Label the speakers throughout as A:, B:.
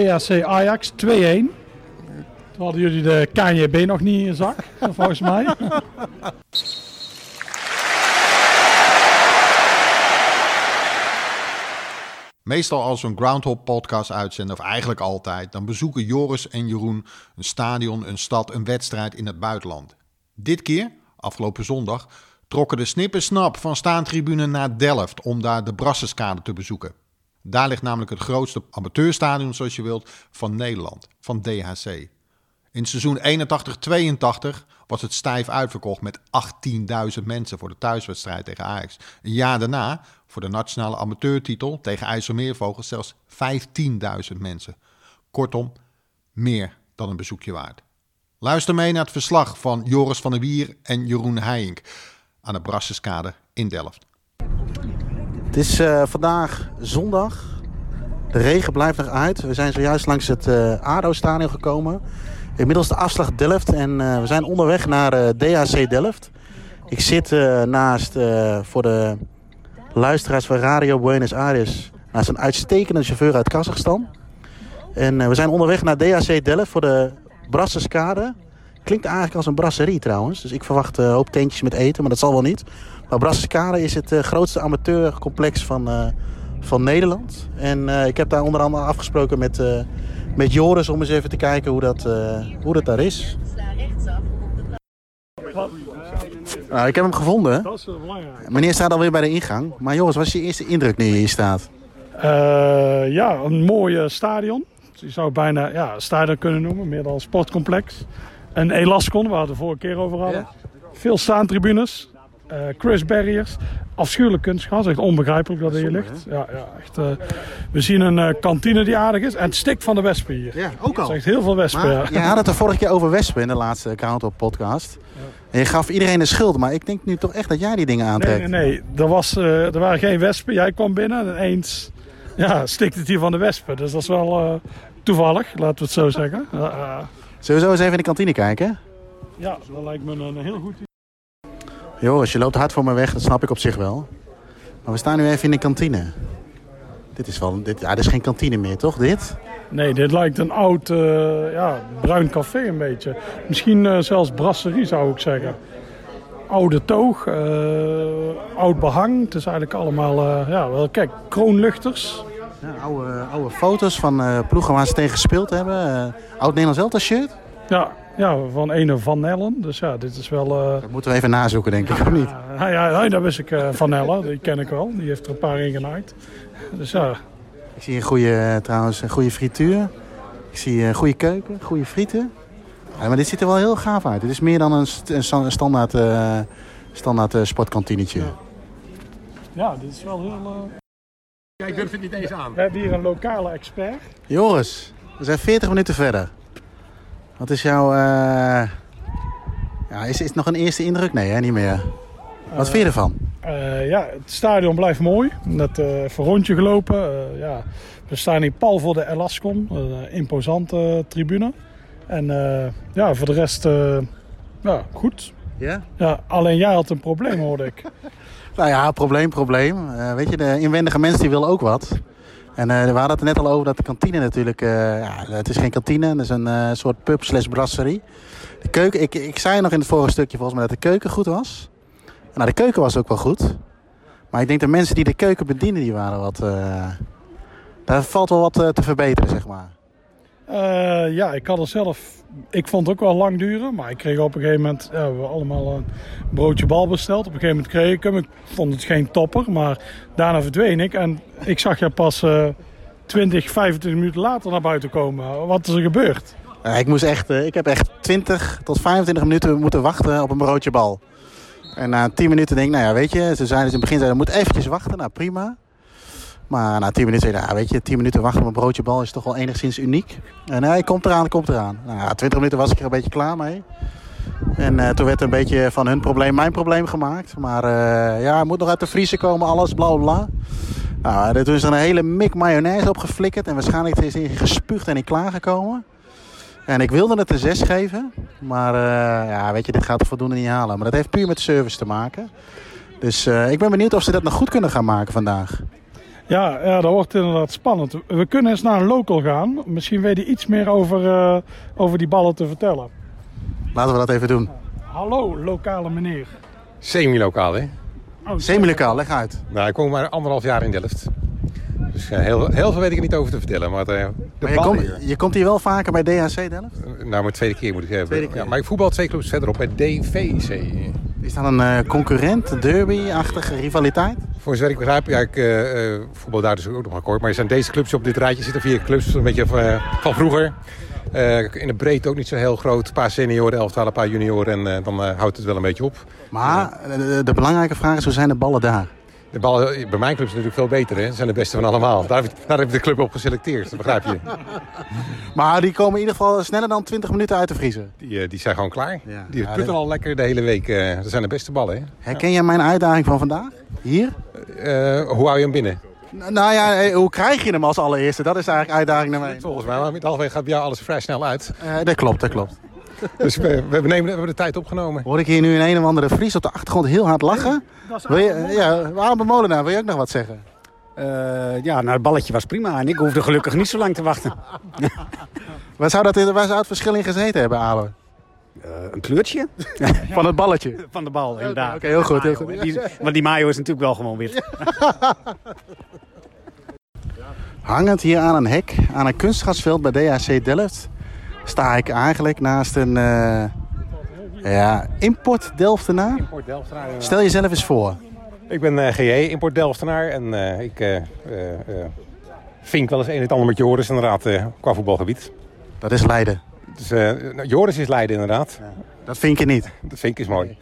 A: DHC Ajax 2-1. Toen hadden jullie de KJB nog niet in je zak, volgens mij.
B: Meestal als we een Groundhog podcast uitzenden, of eigenlijk altijd, dan bezoeken Joris en Jeroen een stadion, een stad, een wedstrijd in het buitenland. Dit keer, afgelopen zondag, trokken de snippersnap van staantribune naar Delft om daar de Brasserskade te bezoeken. Daar ligt namelijk het grootste amateurstadion, zoals je wilt, van Nederland, van DHC. In het seizoen 81-82 was het stijf uitverkocht met 18.000 mensen voor de thuiswedstrijd tegen Ajax. Een jaar daarna, voor de nationale amateurtitel tegen IJsselmeervogels, zelfs 15.000 mensen. Kortom, meer dan een bezoekje waard. Luister mee naar het verslag van Joris van der Wier en Jeroen Heijink aan de Brasserskade in Delft.
C: Het is eh, vandaag zondag. De regen blijft nog uit. We zijn zojuist langs het eh ADO-stadion gekomen. Inmiddels de afslag Delft en eh, we zijn onderweg naar eh, DHC Delft. Ik zit eh, naast, eh, voor de luisteraars van Radio Buenos Aires, naast een uitstekende chauffeur uit Kazachstan. En eh, we zijn onderweg naar DHC Delft voor de Brasserskade. Klinkt eigenlijk als een brasserie trouwens. Dus ik verwacht eh, een hoop tentjes met eten, maar dat zal wel niet. Maar Brasserskade is het eh, grootste amateurcomplex van, eh, van Nederland. En eh, ik heb daar onder andere afgesproken met, eh, met Joris om eens even te kijken hoe dat, eh, hoe dat daar is. Nou, ik heb hem gevonden.
A: Dat is belangrijk.
C: Meneer staat alweer bij de ingang. Maar Joris, wat is je eerste indruk nu je hier staat?
A: ja, een mooi eh, stadion. Je zou het bijna ja, een stadion kunnen noemen, meer dan een sportcomplex. Een Elascon, waar we het de vorige keer over hadden. Veel staantribunes, eh crush barriers, afschuwelijk kunstgras. Echt onbegrijpelijk dat het hier ligt. Ja, ja, echt, eh, we zien een eh, kantine die aardig is en het stik van de wespen hier.
C: Ja, ook
A: Dat is echt heel veel wespen. ja.
C: Maar, je had het de vorige keer over wespen in de laatste Count Up podcast. En je gaf iedereen de schuld, maar ik denk nu toch echt dat jij die dingen aantrekt.
A: Nee, nee, nee. Er, was, eh, er waren geen wespen. Jij kwam binnen en ineens ja, stikt het hier van de wespen. Dus dat is wel eh, toevallig, laten we het zo zeggen. Ja, eh,
C: Zullen we zo eens even in de kantine kijken?
A: ja, dat lijkt me een heel goed idee.
C: Joris, je loopt hard voor me weg, dat snap ik op zich wel. Maar we staan nu even in de kantine. Dit is wel, dit, ja, dit is geen kantine meer, toch? Dit?
A: Nee, dit lijkt een oud eh, ja, bruin café een beetje. Misschien eh, zelfs brasserie zou ik zeggen. Oude toog, eh, oud behang. Het is eigenlijk allemaal, eh, ja, wel, kijk, kroonluchters.
C: Ja, oude, oude foto's van eh, ploegen waar ze tegen gespeeld hebben. Eh, oud Nederlands Elftal shirt.
A: Ja, ja, van ene Van Nellen. Dus ja, dit is wel... eh,
C: Dat moeten we even nazoeken, denk ik, of niet?
A: Ja, nou ja, nou, dat wist ik eh, van Ella, die ken ik wel. Die heeft er een paar in genaaid. Dus ja,
C: Ik zie een goede, eh, trouwens, een goede frituur. Ik zie een goede keuken, goede frieten. Ja, maar dit ziet er wel heel gaaf uit. Dit is meer dan een, st- een sta- een standaard, eh, standaard eh, sportkantinetje.
A: ja dit is wel heel... eh,
D: Ja, ik durf het niet eens aan.
A: We hebben hier een lokale expert.
C: Joris, we zijn 40 minuten verder. Wat is jouw... eh, Ja, is, is het nog een eerste indruk? Nee, hè? niet meer. Wat vind je ervan?
A: Eh, ja, het stadion blijft mooi. Net eh even een rondje gelopen. Eh, ja. We staan hier pal voor de Elascom, een eh, imposante eh, tribune. En eh, ja, voor de rest eh, ja, goed.
C: Ja?
A: Ja, alleen jij had een probleem, hoorde ik.
C: Nou ja, probleem, probleem. Eh, weet je, de inwendige mensen die willen ook wat. En eh, we hadden het er net al over dat de kantine natuurlijk... eh, ja, het is geen kantine, het is een eh, soort pub slash brasserie. De keuken, ik, ik zei nog in het vorige stukje volgens mij dat de keuken goed was. Nou, de keuken was ook wel goed. Maar ik denk de mensen die de keuken bedienen, die waren wat... eh, daar valt wel wat eh, te verbeteren, zeg maar.
A: Eh, ja, ik had er zelf. Ik vond het ook wel lang duren, maar ik kreeg op een gegeven moment. Ja, we hebben allemaal een broodje bal besteld. Op een gegeven moment kreeg ik hem. Ik vond het geen topper, maar daarna verdween ik. En ik zag jou pas eh 20, 25 minuten later naar buiten komen. Wat is er gebeurd?
C: Ja, ik, moest echt, eh, ik heb echt 20 tot 25 minuten moeten wachten op een broodje bal. En na 10 minuten denk ik, nou ja, weet je, ze zeiden in het begin, zeiden, moet eventjes wachten, nou prima. Maar na 10 minuten zei ik, nou weet je, 10 minuten wachten op een broodje bal is toch wel enigszins uniek. En eh, hij komt eraan, komt eraan. Nou ja, 20 minuten was ik er een beetje klaar mee. En eh, toen werd een beetje van hun probleem mijn probleem gemaakt. Maar eh, ja, het moet nog uit de vriezer komen, alles, bla bla, bla. Nou, er- toen is er een hele mik mayonaise opgeflikkerd en waarschijnlijk is hij gespuugd en in klaargekomen. En ik wilde het een 6 geven. Maar eh, ja, weet je, dit gaat er voldoende niet halen. Maar dat heeft puur met service te maken. Dus eh, ik ben benieuwd of ze dat nog goed kunnen gaan maken vandaag.
A: Ja, ja, dat wordt inderdaad spannend. We kunnen eens naar een local gaan. Misschien weet hij iets meer over, eh, over die ballen te vertellen.
C: Laten we dat even doen.
A: Hallo, lokale meneer.
D: Semi-lokaal, hè?
A: Oh,
C: Semi-lokaal, leg uit.
D: Nou, ik woon maar anderhalf jaar in Delft. Dus eh, heel, heel veel weet ik er niet over te vertellen. Maar eh, de
C: Maar je,
D: bal
C: komt-
D: hier-
C: je komt hier wel vaker bij DHC Delft?
D: Nou, mijn tweede keer moet ik zeggen.
C: Tweede keer.
D: Ja, maar ik voetbal twee clubs verderop bij DVC.
C: Is dat een eh, concurrent, een derby-achtige rivaliteit?
D: Voor zover ik begrijp, ja, ik eh, eh, voetbal daar dus ook nog akkoord. Maar er zijn deze clubs op dit rijtje zitten vier clubs, een beetje van, eh, van vroeger. Eh, in de breedte ook niet zo heel groot. Een paar senioren, elftal, een paar junioren en eh, dan eh, houdt het wel een beetje op.
C: Maar eh, de, de belangrijke vraag is, hoe zijn de ballen daar?
D: De bal eh, bij mijn club is natuurlijk veel beter, hè. Ze zijn de beste van allemaal. Daar heb, ik- daar heb ik de club op geselecteerd, dat begrijp je.
C: Maar die komen in ieder geval sneller dan 20 minuten uit de vriezer.
D: Die, eh, die zijn gewoon klaar.
C: Ja.
D: Die
C: Ja,
D: putten
C: dat-
D: al lekker de hele week. eh, dat zijn de beste ballen, hè.
C: Herken jij mijn uitdaging van vandaag? Hier?
D: Eh, hoe hou je hem binnen?
C: N- nou ja, eh, hoe krijg je hem als allereerste? Dat is eigenlijk uitdaging naar mij.
D: Volgens mij, maar met halfweg gaat bij jou alles vrij snel uit.
C: Eh, dat klopt, dat klopt.
D: Dus we, we, nemen, we hebben de tijd opgenomen.
C: Hoor ik hier nu een een of andere Fries op de achtergrond heel hard lachen?
A: dat is
C: Wil je, ja, Abe Molenaar, wil je ook nog wat zeggen?
E: Eh, ja, nou, het balletje was prima en ik hoefde gelukkig niet zo lang te wachten.
C: Waar zou, dat, in- waar zou het verschil in gezeten hebben, Abe?
E: Eh, een kleurtje
C: Van het balletje.
E: van de bal, inderdaad.
C: oké, heel goed, heel
E: Mayo,
C: goed.
E: hè. Die- want die Mayo is natuurlijk wel gewoon wit.
C: Hangend hier aan een hek, aan een kunstgrasveld bij DHC Delft, sta ik eigenlijk naast een eh, ja, import Delftenaar.
D: Import Delftenaar.
C: Stel jezelf eens voor.
D: Ik ben eh GE, import Delftenaar. En eh, ik eh eh, eh, vink wel eens een en het ander met Joris, inderdaad, eh, qua voetbalgebied.
C: Dat is Leiden.
D: Dus, eh, nou, Joris is Leiden, inderdaad.
C: Dat vind je niet.
D: De vink is mooi.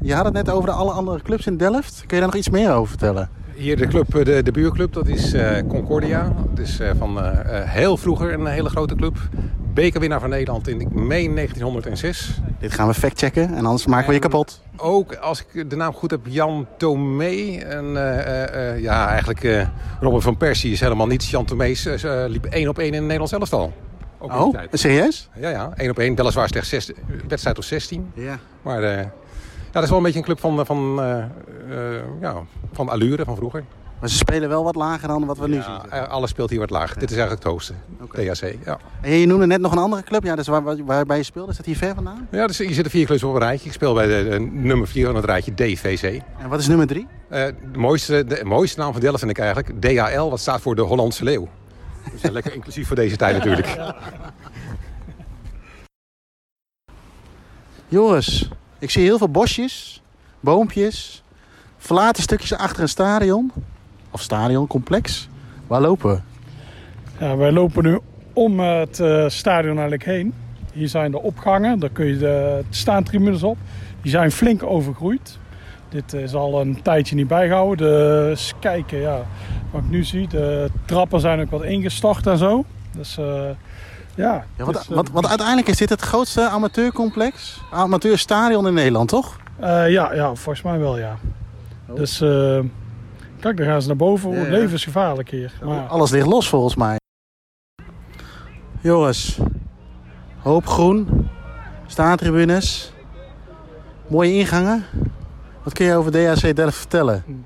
C: Je had het net over de alle andere clubs in Delft. Kun je daar nog iets meer over vertellen?
D: Hier de club, eh, de, de buurclub, dat is eh, Concordia. Dat is eh, van eh, eh, heel vroeger een hele grote club. Bekerwinnaar van Nederland in, ik meen, 1906.
C: Dit gaan we factchecken en anders maken we je kapot.
D: Ook, als ik de naam goed heb, Jan Tomé. En eh, eh, eh, ja, eigenlijk eh Robert van Persie is helemaal niets. Jan Tomé is, eh, liep één op één in het Nederlands elftal. Ook in die
C: Oh,
D: tijd.
C: serieus?
D: Ja, ja, één op één. Weliswaar slechts zes, wedstrijd of 16.
C: Ja.
D: Maar eh, ja, dat is wel een beetje een club van, eh, van, eh, eh, ja, van allure van vroeger.
C: Maar ze spelen wel wat lager dan wat we nu zien.
D: Ja, eh, alles speelt hier wat laag. Dit is eigenlijk het hoogste. DHC, ja.
C: En je noemde net nog een andere club, ja, dus waar, waar- waarbij je speelde. Is dat hier ver vandaan?
D: Ja, dus hier zitten vier clubs op een rijtje. Ik speel bij de, de nummer vier van het rijtje, DVC.
C: En wat is nummer drie?
D: Eh, de, mooiste, de mooiste naam van Delft vind ik eigenlijk DHL, wat staat voor de Hollandse Leeuw. Dat is eh, lekker inclusief voor deze tijd natuurlijk.
C: Joris, ik zie heel veel bosjes, boompjes, verlaten stukjes achter een stadion. Of stadioncomplex. Waar lopen we?
A: Ja, wij lopen nu om eh, het eh, stadion eigenlijk heen. Hier zijn de opgangen, daar kun je eh, de de staantribunes op. Die zijn flink overgroeid. Dit is al een tijdje niet bijgehouden. De, eens kijken, ja, wat ik nu zie, de trappen zijn ook wat ingestort en zo. Dus eh, ja.
C: Ja,
A: het
C: want,
A: is, eh,
C: want, want uiteindelijk is dit het grootste amateurcomplex, amateurstadion in Nederland, toch?
A: eh, ja, ja, volgens mij wel, ja. Dus eh, kijk, daar gaan ze naar boven.
C: Oh. Ja, Oh, ja.
A: Levensgevaarlijk hier. Maar,
C: Alles ligt los volgens mij. Joris, hoop groen, staantribunes, mooie ingangen. Wat kun je over DHC Delft vertellen?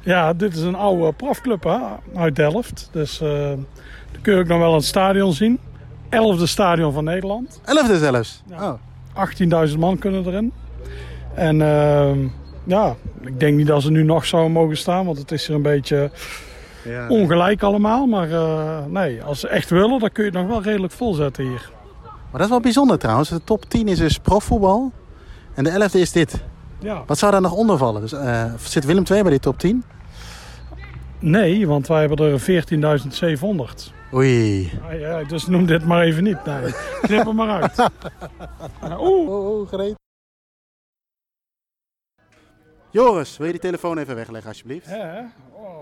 A: Ja, dit is een oude profclub hè, uit Delft. Dus eh daar kun je ook nog wel een stadion zien. Elfde stadion van Nederland.
C: Elfde zelfs.
A: Ja.
C: Oh.
A: 18.000 man kunnen erin. En ehm, ja, ik denk niet dat ze nu nog zouden mogen staan. Want het is er een beetje ongelijk allemaal. Maar eh, nee, als ze echt willen, dan kun je het nog wel redelijk vol zetten hier.
C: Maar dat is wel bijzonder trouwens. De top 10 is dus profvoetbal. En de 11e is dit.
A: Ja.
C: Wat zou daar nog onder vallen? Dus, eh, zit Willem II bij die top 10?
A: Nee, want wij hebben er 14.700.
C: Oei.
A: Ah, ja, dus noem dit maar even niet. Nee, knip hem maar uit. Oeh,
C: Oh, oh gereed. Joris, wil je die telefoon even wegleggen alsjeblieft?
A: Hè? Oh.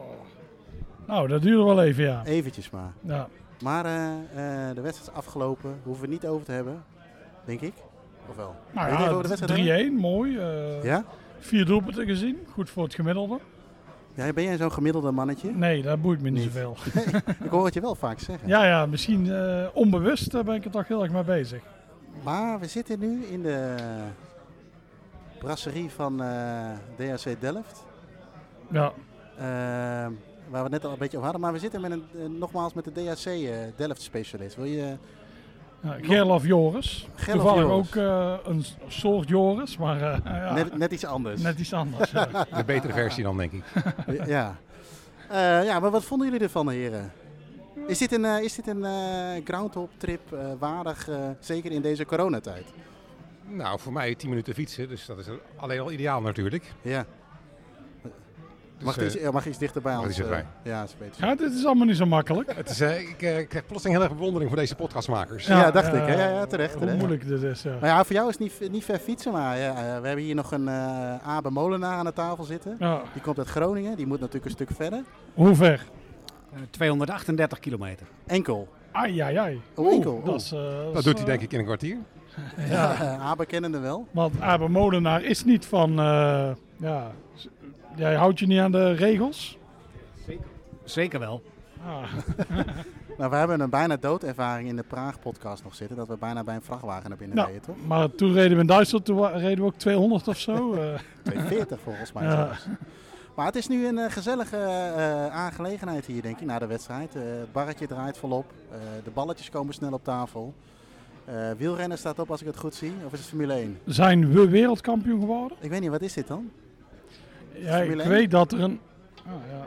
A: Nou, dat duurde wel even, ja.
C: Eventjes maar.
A: ja. Nou
C: Maar eh, eh, de wedstrijd is afgelopen. Hoeven we het niet over te hebben. Denk ik. Of wel? Wil je het even
A: Nou
C: over de wedstrijd hebben?
A: ja, 3-1, mooi. eh,
C: Ja?
A: Vier doelpunten gezien, goed voor het gemiddelde.
C: ja? Ben jij zo'n gemiddelde mannetje?
A: Nee, dat boeit me niet
C: Niet.
A: zoveel.
C: Ik hoor het je wel vaak zeggen.
A: Ja, ja, misschien eh, onbewust eh, ben ik er toch heel erg mee bezig.
C: Maar we zitten nu in de brasserie van eh DHC Delft.
A: Ja,
C: eh, waar we het net al een beetje over hadden. Maar we zitten met een, eh, nogmaals met de DHC eh, Delft specialist. Wil je...
A: Ja, Gerlof Joris.
C: Gerlof
A: Toevallig
C: Joris.
A: ook eh, een s- soort Joris, maar eh, ja, net,
C: Net, net iets anders.
A: iets anders. ja.
D: De betere versie dan, denk ik.
C: ja. Eh, ja, maar wat vonden jullie ervan, heren? Is dit een, eh, is dit een eh, groundhop-trip eh, waardig, eh, zeker in deze coronatijd?
D: Nou, voor mij 10 minuten fietsen, dus dat is alleen al ideaal natuurlijk.
C: Ja.
D: Dus,
C: Mag,
D: eh,
C: iets, eh, mag iets dichterbij
D: mag
C: ons,
D: iets dichterbij.
C: eh, ja, is beter.
A: Ja, dit is allemaal niet zo makkelijk.
D: het is, eh, ik eh, krijg plotseling heel erg bewondering voor deze podcastmakers.
C: Ja, dacht ik, hè?
A: eh,
C: Ja, ja, terecht,
A: Hoe
C: terecht.
A: moeilijk dit is. Ja.
C: Nou ja, voor jou is het niet, niet ver fietsen, maar ja, eh, we hebben hier nog een eh Abe Molenaar aan de tafel zitten.
A: Ja,
C: Die komt uit Groningen, die moet natuurlijk een stuk verder.
A: hoe ver?
E: Eh, 238 kilometer.
C: Enkel.
A: Ai, ai, ai.
C: Oh, enkel.
A: Oeh,
C: Oeh.
A: dat, is, eh,
D: Dat
A: is,
D: doet hij
A: eh,
D: denk ik in een kwartier.
A: Ja.
C: Eh, Abe kennende wel.
A: Want Abe Molenaar is niet van... eh, ja, z- jij houdt je niet aan de regels?
E: Zeker wel.
A: Ah,
C: Nou, we hebben een bijna doodervaring in de Praag-podcast nog zitten. Dat we bijna bij een vrachtwagen naar binnen
A: Nou.
C: reden, toch?
A: maar toen reden we in Duitsland, toen wa- reden we ook 200 of zo. eh.
C: 240 volgens mij
A: Ja.
C: zelfs. Maar het is nu een eh, gezellige eh, aangelegenheid hier, denk ik, na de wedstrijd. Eh, het barretje draait volop. Eh, de balletjes komen snel op tafel. Eh wielrennen staat op als ik het goed zie. Of is het Formule 1?
A: zijn we wereldkampioen geworden?
C: Ik weet niet, wat is dit dan?
A: Ja, ik
C: Formule één?
A: weet dat er een... ah, ja.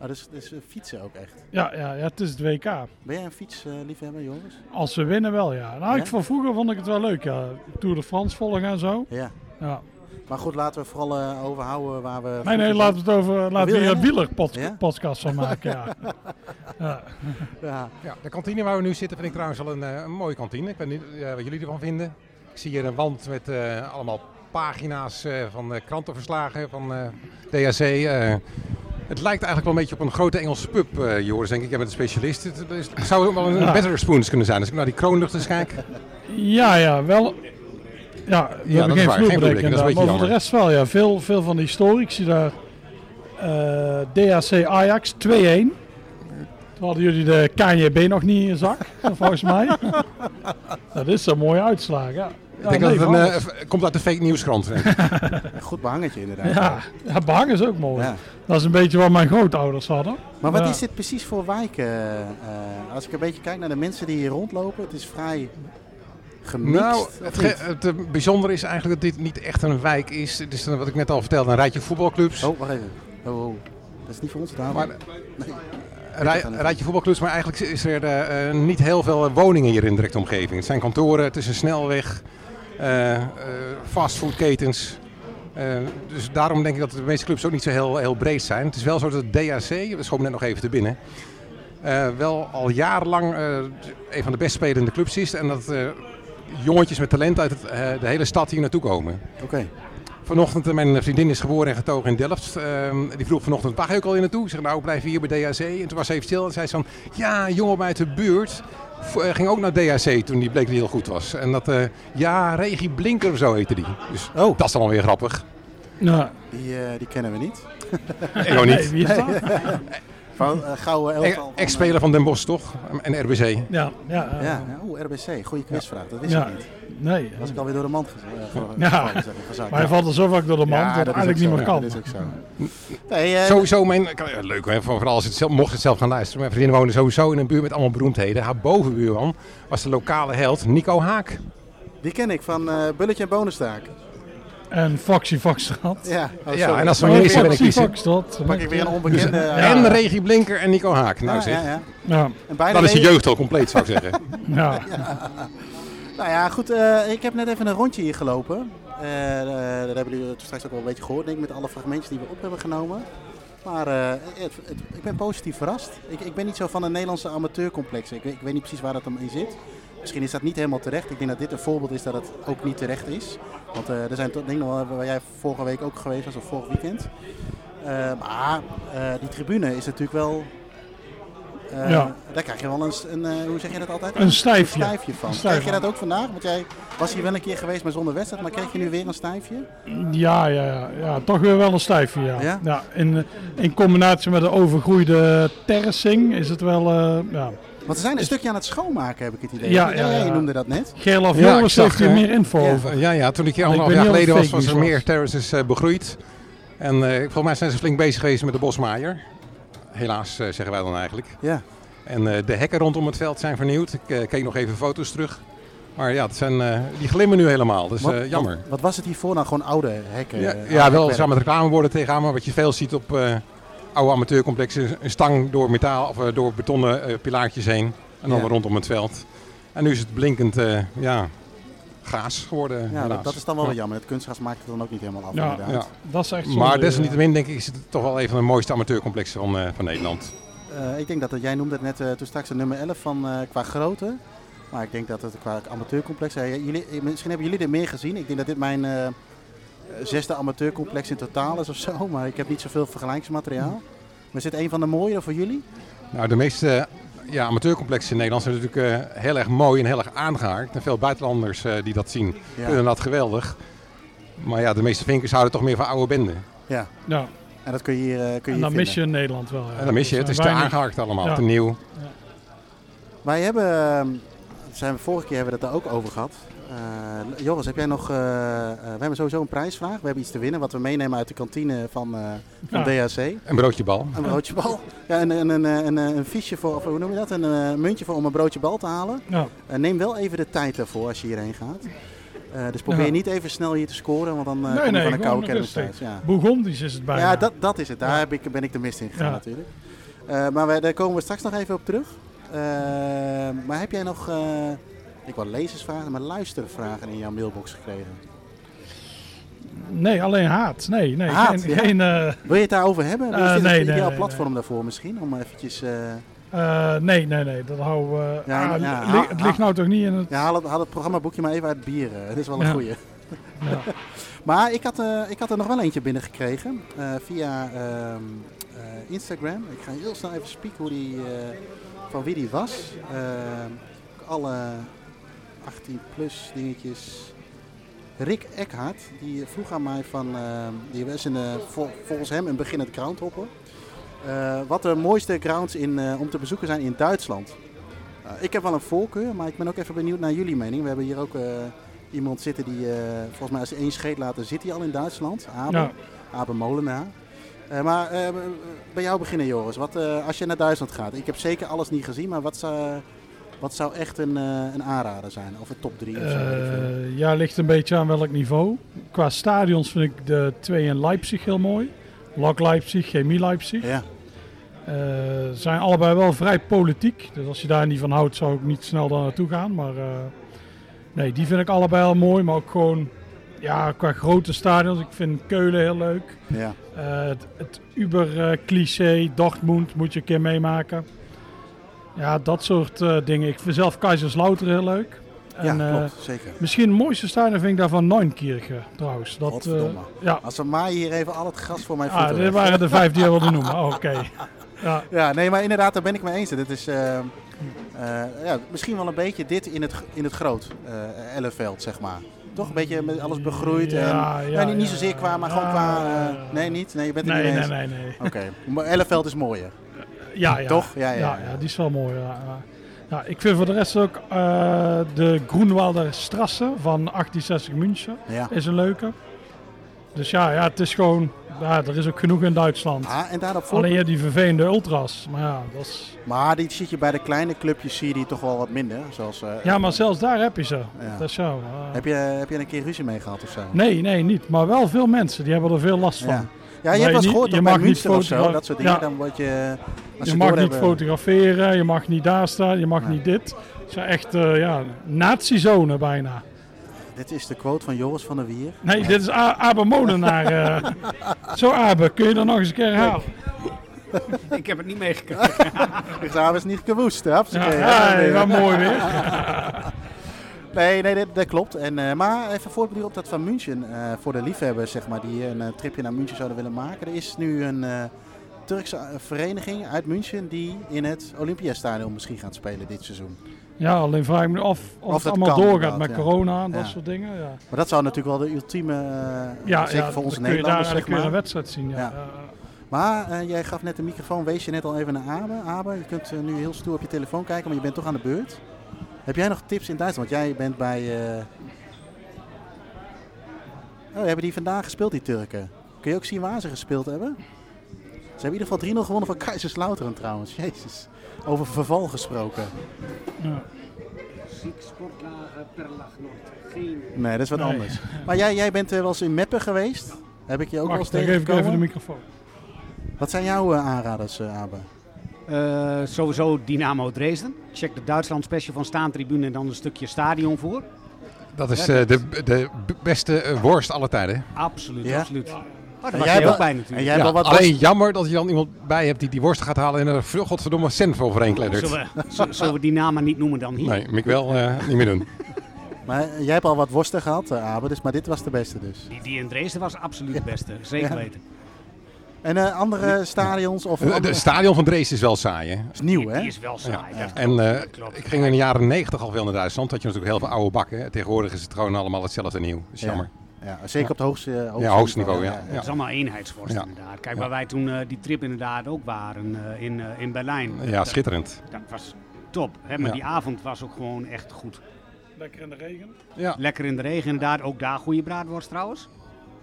C: Oh, dus, dus eh, fietsen ook echt.
A: Ja, ja, ja, het is het WK.
C: Ben jij een fietsliefhebber, jongens?
A: Als ze winnen wel, ja. Nou,
C: Ja?
A: ik, van vroeger vond ik het wel leuk, ja. Tour de France volgen en zo.
C: Ja.
A: Ja.
C: Maar goed, laten we vooral eh, overhouden waar we...
A: Nee, nee, laten we het over... Laten we hier een
C: Wielrennen? nou? Ja?
A: wielerpodcast van maken, ja. ja.
C: Ja.
D: Ja, de kantine waar we nu zitten vind ik trouwens al een, eh, een mooie kantine. Ik weet niet eh, wat jullie ervan vinden. Ik zie hier een wand met eh, allemaal pagina's eh, van eh, krantenverslagen van eh DHC. eh. het lijkt eigenlijk wel een beetje op een grote Engelse pub, eh, Joris, denk ik. Jij bent een specialist. Het, is- het zou ook wel een
A: Ja.
D: Better Spoons kunnen zijn. Als ik naar die kroonluchters kijk.
A: Ja, ja, wel. Ja, we
D: dat
A: hebben
D: is
A: geen
D: waar, geen vloerbedekking,
A: vloerbedekking
D: dat is
A: inderdaad,
D: een beetje
A: maar voor de
D: jammer.
A: rest wel. Ja, veel, veel van de historici daar. Eh DHC Ajax 2-1. Toen hadden jullie de KNJB nog niet in je zak, volgens mij. dat is een mooie uitslag, ja. Ja, nee,
D: ik denk dat het een,
A: van-
D: eh, v- komt uit de fake nieuwskrant. denk ik.
C: Een goed behangetje inderdaad.
A: ja, ja, behang is ook mooi.
C: Ja.
A: Dat is een beetje wat mijn grootouders hadden.
C: Maar wat
A: Ja.
C: is dit precies voor wijk? eh, eh, als ik een beetje kijk naar de mensen die hier rondlopen, het is vrij gemixt.
D: nou,
C: of
D: het,
C: niet?
D: ge- het eh, bijzondere is eigenlijk dat dit niet echt een wijk is. Het is eh, wat ik net al vertelde, een rijtje voetbalclubs.
C: Oh, wacht even. Oh, oh. Dat is niet voor ons daar.
D: Maar
C: nee.
D: Rij, rijtje voetbalclubs, maar eigenlijk is er eh, eh, niet heel veel woningen hier in de directe omgeving. Het zijn kantoren, het is een snelweg, eh, eh, fastfoodketens. Eh, dus daarom denk ik dat de meeste clubs ook niet zo heel, heel breed zijn. Het is wel zo dat het DAC, dat schoot me net nog even te binnen, eh, wel al jarenlang eh, een van de best spelende clubs is. En dat eh, jongetjes met talent uit het, eh, de hele stad hier naartoe komen.
C: Oké.
D: Vanochtend, eh, mijn vriendin is geboren en getogen in Delft. Ehm, die vroeg vanochtend, waar ga je ook al in naartoe? Ik zeg, nou, ik blijf hier bij DHC. En toen was ze even stil en zei ze van, ja, een jongen op mij uit de buurt v- eh, ging ook naar DHC toen die bleek dat hij heel goed was. En dat, eh, ja, Regie Blinker of zo heette die. Dus
C: Oh.
D: dat is dan alweer grappig.
A: Ja.
C: Die, eh, die kennen we niet.
D: Ik ook
A: Nee,
D: niet.
A: wie is dat?
C: Van eh, gouden elftal. van, eh,
D: Ex-speler van Den Bosch, toch? En RBC.
A: Ja, ja, eh,
C: Ja, ja. oeh, RBC. Goede quizvraag. Dat wist
A: ja.
C: ik niet.
A: Nee.
C: Was ik alweer door de mand eh, gezet.
A: Ja. Maar hij valt er zo vaak door de mand dat het eigenlijk niet meer kan.
C: Dat is ook zo. Nee, eh,
D: Sowieso mijn... eh, Leuk hè, voor- vooral als het zelf, mocht het zelf gaan luisteren. Mijn vriendin woonde sowieso in een buurt met allemaal beroemdheden. Haar bovenbuurman was de lokale held Nico Haak.
C: Die ken ik van eh, Bulletje en Bonenstaak.
A: En Foxy Foxtrot.
C: Ja, oh,
D: Ja,
C: sorry.
D: en als we
A: Oh,
D: hem eerst willen
A: Foxy
D: kiezen...
A: Foxtrot.
C: Pak ik weer een onbekende... eh,
A: Ja.
D: En Regie Blinker en Nico Haak. Nou
C: ja,
D: zeg.
C: ja, ja.
A: Ja,
C: En bijna
D: Dan is je
C: weet-
D: jeugd al compleet, zou ik zeggen.
A: ja.
C: Nou ja, goed. eh, ik heb net even een rondje hier gelopen. Eh, eh, dat hebben jullie het straks ook wel een beetje gehoord, denk ik, met alle fragmentjes die we op hebben genomen. Maar eh, het- het- ik ben positief verrast. Ik, ik ben niet zo van een Nederlandse amateurcomplex. Ik, weet- ik weet niet precies waar dat hem in zit. Misschien is dat niet helemaal terecht. Ik denk dat dit een voorbeeld is dat het ook niet terecht is. Want eh, er zijn toch dingen waar waar jij vorige week ook geweest was, of vorig weekend. Eh, maar eh, die tribune is natuurlijk wel... eh,
A: Ja.
C: Daar krijg je wel eens een, eh, hoe zeg je dat altijd?
A: Een stijfje.
C: Een stijfje van.
A: Een stijfje.
C: Krijg je dat ook vandaag? Want jij was hier wel een keer geweest, maar zonder wedstrijd. Maar kreeg je nu weer een stijfje?
A: Ja, ja, ja, ja, toch weer wel een stijfje. Ja.
C: Ja?
A: Ja? in, in combinatie met de overgroeide terracing is het wel. eh ja.
C: Want ze zijn een stukje aan het schoonmaken, heb ik het idee.
A: Ja,
C: Ja,
A: ja, ja.
C: Je noemde dat net.
A: Gerlof
D: Ja, ik
A: Joris
D: zag,
A: heeft hier
D: eh,
A: meer info
C: ja.
A: over.
D: Ja, ja, toen ik hier
A: Ik
D: anderhalf
A: ben
D: jaar
A: heel
D: geleden was,
A: fake
D: was er
A: nieuws,
D: meer
A: was.
D: terraces eh, begroeid. En eh, volgens mij zijn ze flink bezig geweest met de bosmaaier. Helaas, eh, zeggen wij dan eigenlijk.
C: Ja.
D: En eh, de hekken rondom het veld zijn vernieuwd. Ik eh, keek nog even foto's terug. Maar ja, het zijn, eh, die glimmen nu helemaal. Dus
C: Wat-
D: eh, jammer.
C: Wat, wat was het hiervoor nou? Gewoon oude hekken?
D: Ja,
C: eh,
D: ja
C: oude
D: wel
C: perk.
D: samen met reclameborden tegenaan. Maar wat je veel ziet op eh, oude amateurcomplexen. Een stang door metaal of eh, door betonnen eh, pilaartjes heen. En dan
C: Ja.
D: weer rondom het veld. En nu is het blinkend eh, ja, gaas geworden.
C: Ja,
D: helaas.
C: dat, dat is dan wel weer jammer. Het kunstgras maakt het dan ook niet helemaal af.
A: Ja.
C: inderdaad.
D: Ja.
A: Dat is echt zonde, eh.
D: Maar
A: ja.
D: desalniettemin denk ik is het toch wel een van de mooiste amateurcomplexen van, eh, van Nederland.
C: Eh, ik denk dat het- jij noemde het net eh, toen straks een nummer 11 van eh, qua grootte. Maar ik denk dat het qua amateurcomplex. eh, jullie, eh, misschien hebben jullie er meer gezien. Ik denk dat dit mijn eh, zesde amateurcomplex in totaal is of zo. Maar ik heb niet zoveel vergelijkingsmateriaal. Maar is dit een van de mooiere voor jullie?
D: Nou, de meeste eh, ja, amateurcomplexen in Nederland zijn natuurlijk eh, heel erg mooi en heel erg aangehaakt. En veel buitenlanders eh, die dat zien vinden dat geweldig. Maar ja, de meeste vinkers houden toch meer van oude benden.
C: ja.
A: Ja,
C: En dat kun je hier, eh, kun je hier
A: en dan
C: vinden.
A: mis je in Nederland wel. ja.
D: En dan mis je,
A: Dus,
D: het is
A: eh,
D: te
A: weinig-
D: aangehaakt allemaal,
A: Ja.
D: te nieuw.
C: Wij hebben, ehm, zijn we vorige keer hebben we het daar ook over gehad. Eh Joris, heb jij nog, eh, eh, we hebben sowieso een prijsvraag. We hebben iets te winnen wat we meenemen uit de kantine van, eh, van DHC.
D: Een broodje bal.
C: Een broodje bal. Ja, en, en, en, eh, en, eh, een fiche voor, of hoe noem je dat? Een eh, muntje voor om een broodje bal te halen.
A: Ja.
C: Eh, neem wel even de tijd daarvoor als je hierheen gaat. Eh, dus probeer
A: Ja.
C: niet even snel hier te scoren, want dan eh
A: Nee,
C: kom je
A: nee,
C: van een
A: gewoon
C: koude kermis
A: rustig.
C: thuis. Ja.
A: Bourgondisch is het bijna.
C: Ja, dat, dat is het. Daar heb ik, ben ik de mist in gegaan
A: Ja.
C: natuurlijk. Eh, maar wij, daar komen we straks nog even op terug. Eh, maar heb jij nog, eh, ik wou lezersvragen, maar luistervragen in jouw mailbox gekregen?
A: Nee, alleen haat. Nee, nee.
C: Haat,
A: geen,
C: ja.
A: geen, eh,
C: Wil je het daarover hebben?
A: Eh,
C: is dit
A: nee,
C: een ideaal
A: nee,
C: platform daarvoor misschien? Om eventjes, eh,
A: eh, nee, nee, nee. Dat houden we...
C: Ja,
A: ah,
C: ja,
A: li-
C: ha-
A: het
C: ha-
A: ligt nou toch niet in het...
C: ja, haal, het, haal het programmaboekje maar even uit bieren. Dat is wel een
A: Ja.
C: goeie.
A: Ja.
C: Maar ik had, eh, ik had er nog wel eentje binnengekregen eh, via ehm, eh, Instagram. Ik ga heel snel even spieken hoe die, eh, van wie die was. Ehm, alle 18 plus dingetjes. Rick Eckhart, die vroeg aan mij van, ehm, die was in, eh, vol- volgens hem een beginnend groundhopper. Eh, wat de mooiste grounds in, eh, om te bezoeken zijn in Duitsland. Eh, ik heb wel een voorkeur, maar ik ben ook even benieuwd naar jullie mening. We hebben hier ook eh, iemand zitten die, eh, volgens mij als hij één scheet later zit hij al in Duitsland. Abe,
A: Ja.
C: Abe Molenaar. Eh, maar eh, bij jou beginnen Joris, wat, eh, als je naar Duitsland gaat. Ik heb zeker alles niet gezien, maar wat zou, wat zou echt een, eh, een aanrader zijn? Of een top 3 of zo? weet ik veel.
A: Eh, ja, ligt een beetje aan welk niveau. Qua stadions vind ik de twee in Leipzig heel mooi. Lok Leipzig, Chemie Leipzig.
C: Ja,
A: Eh, zijn allebei wel vrij politiek. Dus als je daar niet van houdt, zou ik niet snel daar naartoe gaan. Maar eh, nee, die vind ik allebei heel mooi. Maar ook gewoon ja, qua grote stadions. Ik vind Keulen heel leuk.
C: ja.
A: Eh, het het uber-cliché, Dortmund moet je een keer meemaken. Ja, dat soort eh, dingen. Ik vind zelf Kaiserslautern heel leuk. En,
C: ja
A: eh,
C: klopt, zeker.
A: Misschien het mooiste stadion vind ik daarvan Neunkirchen trouwens. Dat, eh,
C: Godverdomme.
A: ja,
C: Als we maar hier even al het gras voor mijn voeten
A: ah, dit
C: leggen.
A: waren de vijf die we wilden noemen. Oh, Oké. Ja.
C: Ja, nee, maar inderdaad, daar ben ik mee eens. Dit is eh, eh, ja, misschien wel een beetje dit in het, in het groot eh ellenveld, zeg maar. Toch een beetje met alles begroeid.
A: Ja,
C: en,
A: ja,
C: nou, niet, niet
A: ja,
C: zozeer qua, maar
A: ja,
C: gewoon qua...
A: ja,
C: eh,
A: ja.
C: nee, niet? Nee, je bent het
A: Nee,
C: niet mee
A: nee,
C: eens?
A: nee, nee.
C: Oké, maar ellenveld is mooier.
A: Ja, ja.
C: Toch? Ja, ja,
A: ja,
C: ja.
A: die is wel mooi. Ja. ja. Ja, ik vind voor de rest ook eh, de Groenwalder Strasse van 1860 München
C: Ja.
A: is een leuke. Dus ja, ja het is gewoon, ja, er is ook genoeg in Duitsland.
C: Ah, en daarop
A: Alleen
C: voor...
A: ja, die vervelende ultras. Maar ja, dat is,
C: Maar die zit je bij de kleine clubjes, zie je die toch wel wat minder. Zoals, eh,
A: ja, maar zelfs daar heb je ze.
C: Ja.
A: Dat is zo. eh.
C: heb, je, heb je er een keer ruzie mee gehad of zo?
A: Nee, nee, niet. Maar wel veel mensen, die hebben er veel last van.
C: Ja, ja je
A: Nee,
C: hebt wel eens
A: niet-
C: gehoord
A: je
C: dat bij
A: mag niet
C: Münster of zo,
A: fotogra-
C: dat soort dingen.
A: Ja.
C: Dan word je... als
A: Je
C: ze
A: mag niet
C: doorhebben-
A: fotograferen, je mag niet daar staan, je mag
C: Nee.
A: niet dit. Het zijn echt eh ja, nazi-zone bijna.
C: Dit is de quote van Joris van der Wier.
A: Nee, dit is A- Abe Molenaar. eh. Zo Abe, kun je dat nog eens een keer herhalen?
E: Ik heb het niet meegekregen.
C: Ik zou eens niet gewoest, hè?
A: Ja,
C: Hupsakee, hè?
A: hey, wat mooi weer.
C: Nee, nee, dat, dat klopt. En, eh, maar even voorbeeld op dat van München. eh, voor de liefhebbers, zeg maar, die een eh, tripje naar München zouden willen maken. Er is nu een eh, Turkse eh, vereniging uit München die in het Olympiastadion misschien gaat spelen dit seizoen.
A: Ja, alleen vraag ik me af of,
C: Of
A: het
C: dat
A: allemaal
C: kan,
A: doorgaat
C: inderdaad,
A: met
C: ja.
A: corona en dat
C: Ja.
A: soort dingen. Ja,
C: Maar dat zou natuurlijk wel de ultieme, eh,
A: ja,
C: zeker
A: ja,
C: voor onze
A: dan kun je daar
C: Nederlanders, zeg
A: eigenlijk weer een
C: maar.
A: wedstrijd zien. Ja.
C: Ja. Maar eh, jij gaf net de microfoon, wees je net al even naar Abe. Abe, je kunt eh, nu heel stoer op je telefoon kijken, maar je bent toch aan de beurt. Heb jij nog tips in Duitsland? Want jij bent bij... eh, Oh, hebben die vandaag gespeeld, die Turken? kun je ook zien waar ze gespeeld hebben? Ze hebben in ieder geval 3-0 gewonnen van Kaiserslautern trouwens. Jezus. Over verval gesproken. eh, Nee, dat is wat
A: Nee.
C: anders. Maar jij, jij bent eh, wel eens in Meppen geweest. Heb ik je ook wel eens
A: Wacht, dan geef ik even de
C: tegengekomen?
A: microfoon.
C: Wat zijn jouw eh, aanraders, eh, Abe?
E: Eh, sowieso Dynamo Dresden. Check de Duitsland special van Staantribune en dan een stukje stadion voor.
D: Dat is
E: Ja,
D: eh,
E: dat-
D: de, de b- beste eh, worst alle tijden.
E: Absoluut,
C: Ja.
E: absoluut. Oh, daar
C: En
E: was
C: jij
E: jij
C: wel-
E: ook bij
C: En
E: natuurlijk.
C: jij hebt
D: Ja,
C: wel wat
D: alleen jammer dat je dan iemand bij hebt die die worst gaat halen en er v- godverdomme cent voor overheen kleddert.
E: Oh, Zullen we, z- zullen we die namen niet noemen dan hier?
D: Nee, moet ik wel eh, niet meer doen.
C: Maar eh, jij hebt al wat worsten gehad, eh, Abe, dus, maar dit was de beste dus.
E: Die, die in Dresden was absoluut de beste, zeker
C: Ja.
E: weten.
C: En eh, andere stadions of
D: Het
C: andere...
D: stadion van Dresden is wel saai, hè?
C: is nieuw,
E: Die,
C: hè?
E: die is wel saai. dat klopt,
D: En eh,
E: dat klopt.
D: ik ging in de jaren 90 al veel naar Duitsland. Had je natuurlijk heel veel oude bakken. Tegenwoordig is het gewoon allemaal hetzelfde nieuw. Dat is
C: Ja.
D: jammer.
C: Ja, zeker op het hoogste, eh, hoogste
D: Ja, hoogste niveau, ja.
E: Het is allemaal eenheidsworst
D: Ja.
E: inderdaad. Kijk,
D: Ja.
E: waar wij toen eh, die trip inderdaad ook waren eh, in, eh, in Berlijn.
D: Ja, schitterend.
E: Dat was top. Hè? Maar
D: Ja.
E: die avond was ook gewoon echt goed.
A: Lekker in de regen.
D: Ja.
E: Lekker in de regen inderdaad. Ook daar goede braadworst trouwens.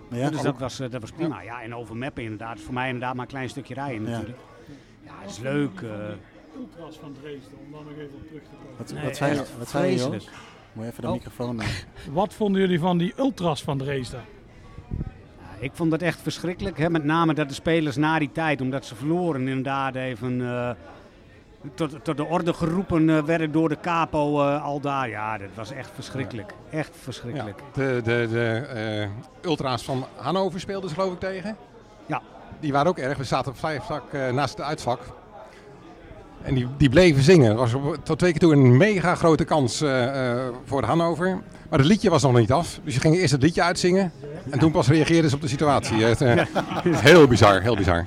C: Ja,
E: dus dat was, eh, dat was prima. Ja, en over Meppen inderdaad. Is voor mij inderdaad maar een klein stukje rijden
C: Ja.
E: natuurlijk. Ja, is leuk. eh.
A: Ultras van Dresden, om daar nog even op terug te komen.
C: Wat,
E: Nee,
C: wat zei je,
E: echt
C: wat zei je
E: vreselijk.
C: Joost? Moet je even de
E: Oh.
C: microfoon eh, aan.
A: Wat vonden jullie van die ultras van Dresden?
E: Ja, ik vond dat echt verschrikkelijk. Hè? Met name dat de spelers na die tijd, omdat ze verloren, inderdaad even eh, tot, tot de orde geroepen eh, werden door de capo eh, al daar. Ja, dat was echt verschrikkelijk. Echt
D: Ja.
E: verschrikkelijk.
D: De, de, de eh, ultra's van Hannover speelden ze geloof ik tegen.
E: Ja.
D: Die waren ook erg. We zaten vijf zak eh, naast het uitvak. En die, die bleven zingen. Het was op- tot twee keer toe een mega grote kans eh, eh, voor Hannover. Maar het liedje was nog niet af. Dus je ging eerst het liedje uitzingen. En toen pas reageerden ze op de situatie. Het, eh, Heel bizar, heel bizar.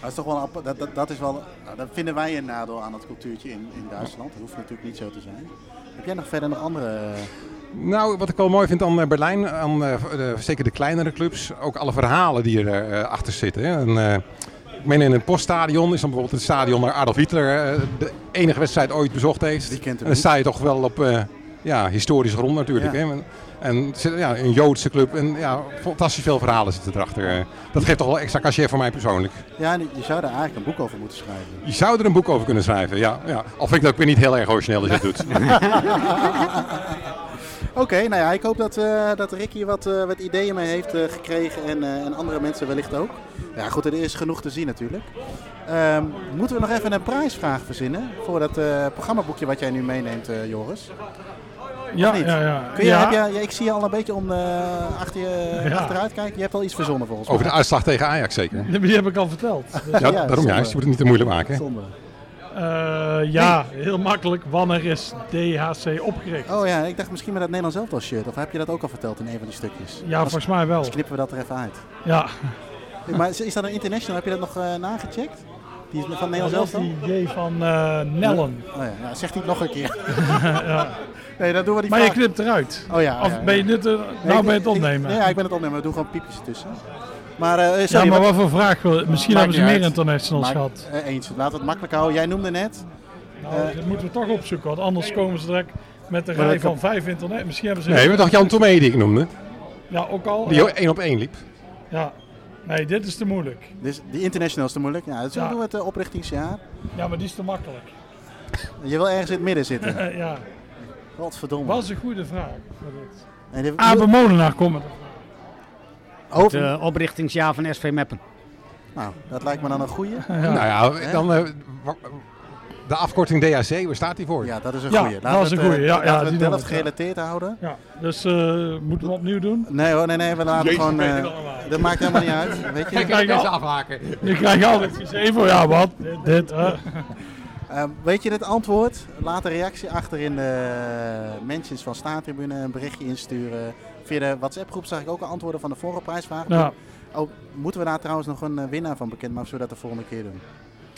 C: Dat is toch wel een appa- dat, dat, dat is wel, nou, dat vinden wij een nadeel aan dat cultuurtje in, in Duitsland. Dat hoeft natuurlijk niet zo te zijn. Heb jij nog verder nog andere? eh,
D: Nou, wat ik wel mooi vind aan eh, Berlijn, aan, eh, de- zeker de kleinere clubs, ook alle verhalen die er eh, achter zitten. hè. En, eh, ik meen in een poststadion is dan bijvoorbeeld het stadion waar Adolf Hitler eh, de enige wedstrijd ooit bezocht heeft.
C: Die kent hem
D: en dan
C: niet.
D: sta je toch wel op eh, ja, historische grond natuurlijk.
C: Ja.
D: Hè? En, en er zit, ja, een Joodse club en ja, fantastisch veel verhalen zitten erachter. eh. Dat geeft toch wel extra cachet voor mij persoonlijk.
C: Ja, en je zou daar eigenlijk een boek over moeten schrijven.
D: Je zou er een boek over kunnen schrijven, ja. ja. Al vind ik dat ook weer niet heel erg origineel als je het doet.
C: Oké, nou ja, ik hoop dat, eh dat Rick hier wat, eh, wat ideeën mee heeft eh, gekregen en, eh, en andere mensen wellicht ook. Ja goed, er is genoeg te zien natuurlijk. Ehm, moeten we nog even een prijsvraag verzinnen voor dat eh, programmaboekje wat jij nu meeneemt, eh, Joris?
A: Ja,
C: niet?
A: ja, ja.
C: Kun je,
A: ja.
C: heb jij, ja, ik zie je al een beetje om, eh, achter je,
A: Ja.
C: achteruit kijken. Je hebt al iets verzonnen volgens mij.
D: Over de uitslag tegen Ajax zeker.
A: Die heb ik al verteld. Dus,
D: Ja,
C: Ja,
D: daarom
C: zonde.
D: juist. Je moet het niet te moeilijk maken. hè.
C: Zonde.
A: Eh, ja, heel makkelijk. Wanneer is DHC opgericht?
C: Oh ja, ik dacht misschien met dat Nederlands elftal shirt. Of heb je dat ook al verteld in een van die stukjes?
A: Ja, volgens mij wel.
C: Dus knippen we dat er even uit.
A: Ja.
C: Maar is, is dat een international? Heb je dat nog eh, nagecheckt? Die is van Nederlands
A: Dat is
C: elftal?
A: die idee van eh, Nellen.
C: Oh ja, ja, zegt hij het nog een keer. Nee, dan doen we die
A: Maar je
C: vraag.
A: knipt eruit.
C: Oh ja, ja,
A: Of
C: ja.
A: ben je dit, eh,
C: Nee,
A: nou ben
C: ik-
A: je het
C: ik-
A: opnemen?
C: Nee, ja, ik ben het opnemen. We doen gewoon piepjes tussen. Maar, eh,
A: Ja,
C: sorry,
A: maar wat
C: wat-
A: voor vraag? wil- Misschien
C: Maakt
A: hebben ze
C: niet
A: meer
C: uit.
A: internationals
C: Maak-
A: gehad.
C: eh, eens, laten we het makkelijk houden. Jij noemde net.
A: Nou, dat moeten we toch opzoeken, want anders komen ze direct met een
C: Maar
A: rij
C: dat
A: van vijf internet. Misschien hebben ze...
D: Nee, we dacht Jan Tomé die ik noemde.
A: Ja, ook al.
D: Die
A: Oh, Ja.
D: één op één liep.
A: Ja. Nee, dit is te moeilijk.
C: Dus die international is te moeilijk. Ja, dus
A: Ja.
C: doen we het eh, oprichtingsjaar.
A: Ja, maar die is te makkelijk.
C: Je wil ergens in het midden zitten.
A: Eh, ja,
C: Godverdomme.
A: was een goede vraag. voor dit.
C: En dit-
A: Abe Molenaar komen.
E: Het
C: Over-
E: eh, oprichtingsjaar van SV Meppen.
C: Nou, dat lijkt me dan een goeie.
D: Nou ja,
C: Hè?
D: dan eh, wa- de afkorting DAC, waar staat die voor?
C: Ja, dat is een
A: Ja,
C: goeie.
A: dat is
C: we
A: een
C: het, eh,
A: goeie. Ja,
C: laten
A: ja,
C: we
A: die
C: het
A: doen
C: Delft
A: we.
C: gerelateerd houden.
A: Ja, dus eh, moeten we opnieuw doen?
C: Nee hoor, nee, nee, we laten
D: Jezus,
C: gewoon...
D: weet
C: eh,
D: je dat allemaal.
C: dat maakt helemaal niet uit, weet je.
D: Kijk,
A: Kijk,
D: kijk
A: al-
D: deze afhaken.
A: Ik krijg altijd gezegd van ja, wat? Dit, dit, eh.
C: Eh, weet je het antwoord? Laat een reactie achter in de mentions van Staantribune, een berichtje insturen. Via de WhatsApp-groep zag ik ook al antwoorden van de vorige prijsvraag.
A: Ja,
C: Oh, moeten we daar trouwens nog een eh, winnaar van bekendmaken, zodat we dat de volgende keer doen?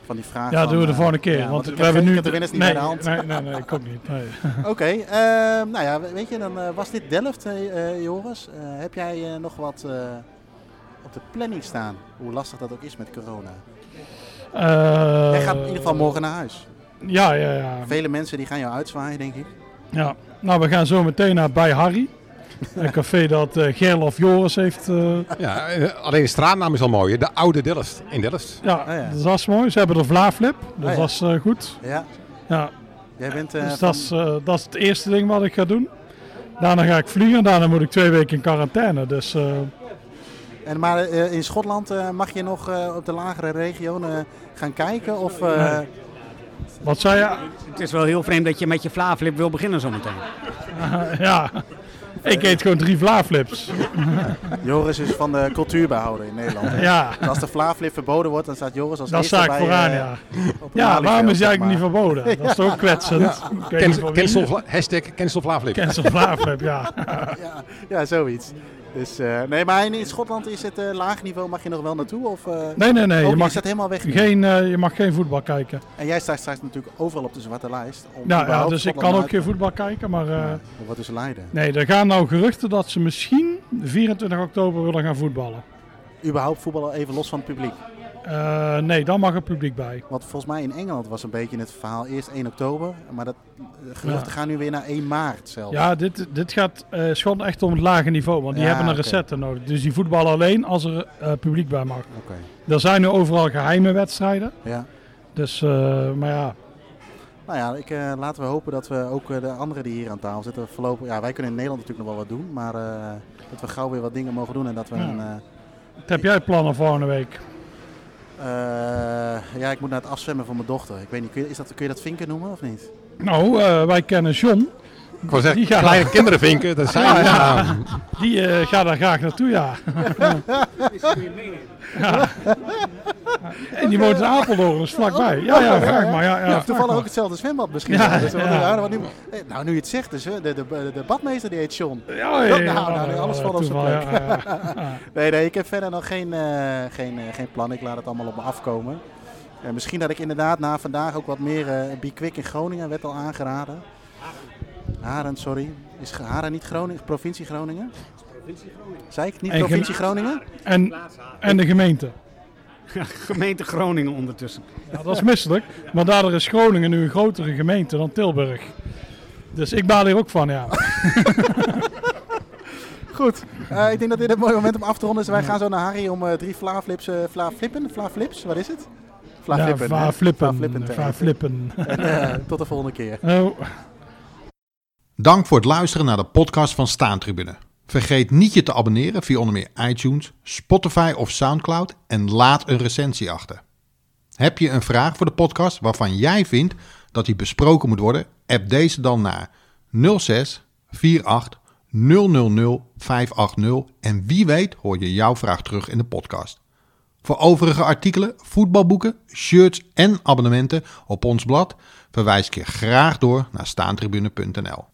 C: Van die vraag
A: ja
C: van,
A: doen we de
C: eh,
A: volgende keer.
C: ja,
A: want
C: ik
A: we
C: heb
A: hebben
C: geen-
A: nu.
C: ik heb de winnaars niet
A: nee,
C: bij de hand.
A: Nee, nee, nee, ik ook niet. Nee.
C: Oké, eh, nou ja, we- weet je, dan eh, was dit Delft, eh, eh, Joris. Eh, heb jij eh, nog wat eh, op de planning staan? Hoe lastig dat ook is met corona.
A: Eh,
C: Jij gaat in ieder geval morgen naar huis.
A: Ja, ja, ja.
C: Vele mensen die gaan jou uitzwaaien, denk ik.
A: ja. Nou, we gaan zo meteen naar bij Harry. Een café dat eh Gerlof Joris heeft. eh,
D: Ja, eh, alleen de straatnaam is al mooi. hè. De Oude Delft in Delft.
A: ja,
C: Ah, ja. Ah,
A: dus dat is mooi. Ze hebben de Vlaaflip, dus
C: ja.
A: dat is eh, goed.
C: Ja,
A: Ja,
C: jij bent... eh,
A: dus
C: van-
A: dat is, eh, dat is het eerste ding wat ik ga doen. Daarna ga ik vliegen, daarna moet ik twee weken in quarantaine. Dus eh,
C: en, maar eh, in Schotland eh, mag je nog eh, op de lagere regionen eh, gaan kijken? Of, eh,
A: wat zei je?
E: Het is wel heel vreemd dat je met je vlaaflip wil beginnen zometeen.
A: Ja, ik eet gewoon drie Vlaaflips.
C: Joris is van de cultuurbehouder in Nederland. hè?
A: Ja,
C: En als de Vlaaflip verboden wordt, dan staat Joris als
A: daar
C: eerste
A: sta ik
C: bij,
A: vooraan,
C: eh,
A: ja.
C: op het
A: Ja, waarom is die
C: Malieveld,
A: eigenlijk niet
C: zeg maar.
A: verboden? Dat is toch ook kwetsend? Ik weet niet
D: Cancel,
A: voor wie.
D: cancel Vla- hashtag cancel Vlaaflip.
A: Cancel Vlaaflip, ja.
C: Ja, zoiets. Dus, eh, nee, maar in, in Schotland is het eh, laag niveau. Mag je nog wel naartoe? Of, eh,
A: Nee, nee, nee.
C: oh,
A: Je mag,
C: is dat helemaal weg? nu?
A: geen, eh, je mag geen voetbal kijken.
C: En jij staat straks natuurlijk overal op de zwarte lijst. Om
A: Ja, ja,
C: überhaupt
A: dus ik
C: Schotland
A: kan ook
C: uit-
A: geen voetbal kijken, maar... eh,
C: Ja, Wat is dus Leiden?
A: nee, er gaan nou geruchten dat ze misschien 24 oktober willen gaan voetballen.
C: Überhaupt voetballen even los van het publiek.
A: Eh, nee, dan mag er publiek bij.
C: Want volgens mij in Engeland was een beetje het verhaal eerst 1 oktober. Maar dat de geruchten gaan nu weer naar 1 maart zelf.
A: Ja, dit, dit gaat eh Schotland echt om het lage niveau, want die
C: Ja,
A: hebben een
C: oké.
A: recette nodig. Dus die voetballen alleen als er eh, publiek bij mag.
C: Oké.
A: Er zijn nu overal geheime wedstrijden,
C: Ja.
A: dus, eh, maar ja,
C: Nou ja, ik, eh, laten we hopen dat we ook eh, de anderen die hier aan tafel zitten voorlopig... Ja, wij kunnen in Nederland natuurlijk nog wel wat doen. Maar eh, dat we gauw weer wat dingen mogen doen. En dat we
A: Ja.
C: een... eh,
A: wat heb jij plannen volgende week?
C: eh, ja, ik moet naar het afzwemmen van mijn dochter. Ik weet niet, kun je, is dat, kun je dat vinken noemen of niet?
A: Nou, eh, wij kennen John.
D: Ik wou zeggen,
A: Die gaan-
D: kleine kinderen vinken. Dat zijn nou. we.
A: Die eh, gaat daar graag naartoe, ja. ja. En die woont in Apeldoorn, dus vlakbij. Ja, ja, vraag maar. Ja, ja,
C: Ja,
A: vraag
C: toevallig
A: maar.
C: ook hetzelfde zwembad misschien. Dus
A: Ja,
C: Dat is wel
A: ja.
C: heel aardig, want nu, eh, nou, nu je het zegt, dus, hè, de, de, de badmeester die heet John.
A: Ja, ja, ja,
C: Nou, nou, nee,
A: ja,
C: alles valt op zijn
A: toeval,
C: plek.
A: ja, ja, ja.
C: Nee, nee, ik heb verder nog geen, eh, geen, eh, geen plan. Ik laat het allemaal op me afkomen. Eh, misschien dat ik inderdaad na vandaag ook wat meer eh Be Quick in Groningen werd al aangeraden. Haren, sorry. Is Ge- Haren niet Groningen? Provincie Groningen? Zei ik niet
A: En Gem-
C: provincie Groningen?
A: En, en de gemeente.
E: Gemeente Groningen ondertussen.
A: Ja, dat is misselijk, maar daardoor is Groningen nu een grotere gemeente dan Tilburg. Dus ik baal hier ook van, ja.
C: Goed. Eh, ik denk dat dit een mooi moment om af te ronden is. Wij gaan zo naar Harry om eh, drie Vlaaflips. eh Vlaaflippen? Vlaaflips? Wat is het?
A: Ja,
C: Vlaaflippen. hè?
A: va flippen.
C: Vlaaflippen te
A: Va
C: eten.
A: flippen.
C: En, eh, tot de volgende keer.
A: Oh.
B: Dank voor het luisteren naar de podcast van Staantribune. Vergeet niet je te abonneren via onder meer iTunes, Spotify of Soundcloud en laat een recensie achter. Heb je een vraag voor de podcast waarvan jij vindt dat die besproken moet worden? App deze dan naar 06 48 000 580 en wie weet hoor je jouw vraag terug in de podcast. Voor overige artikelen, voetbalboeken, shirts en abonnementen op ons blad verwijs ik je graag door naar staantribune.nl.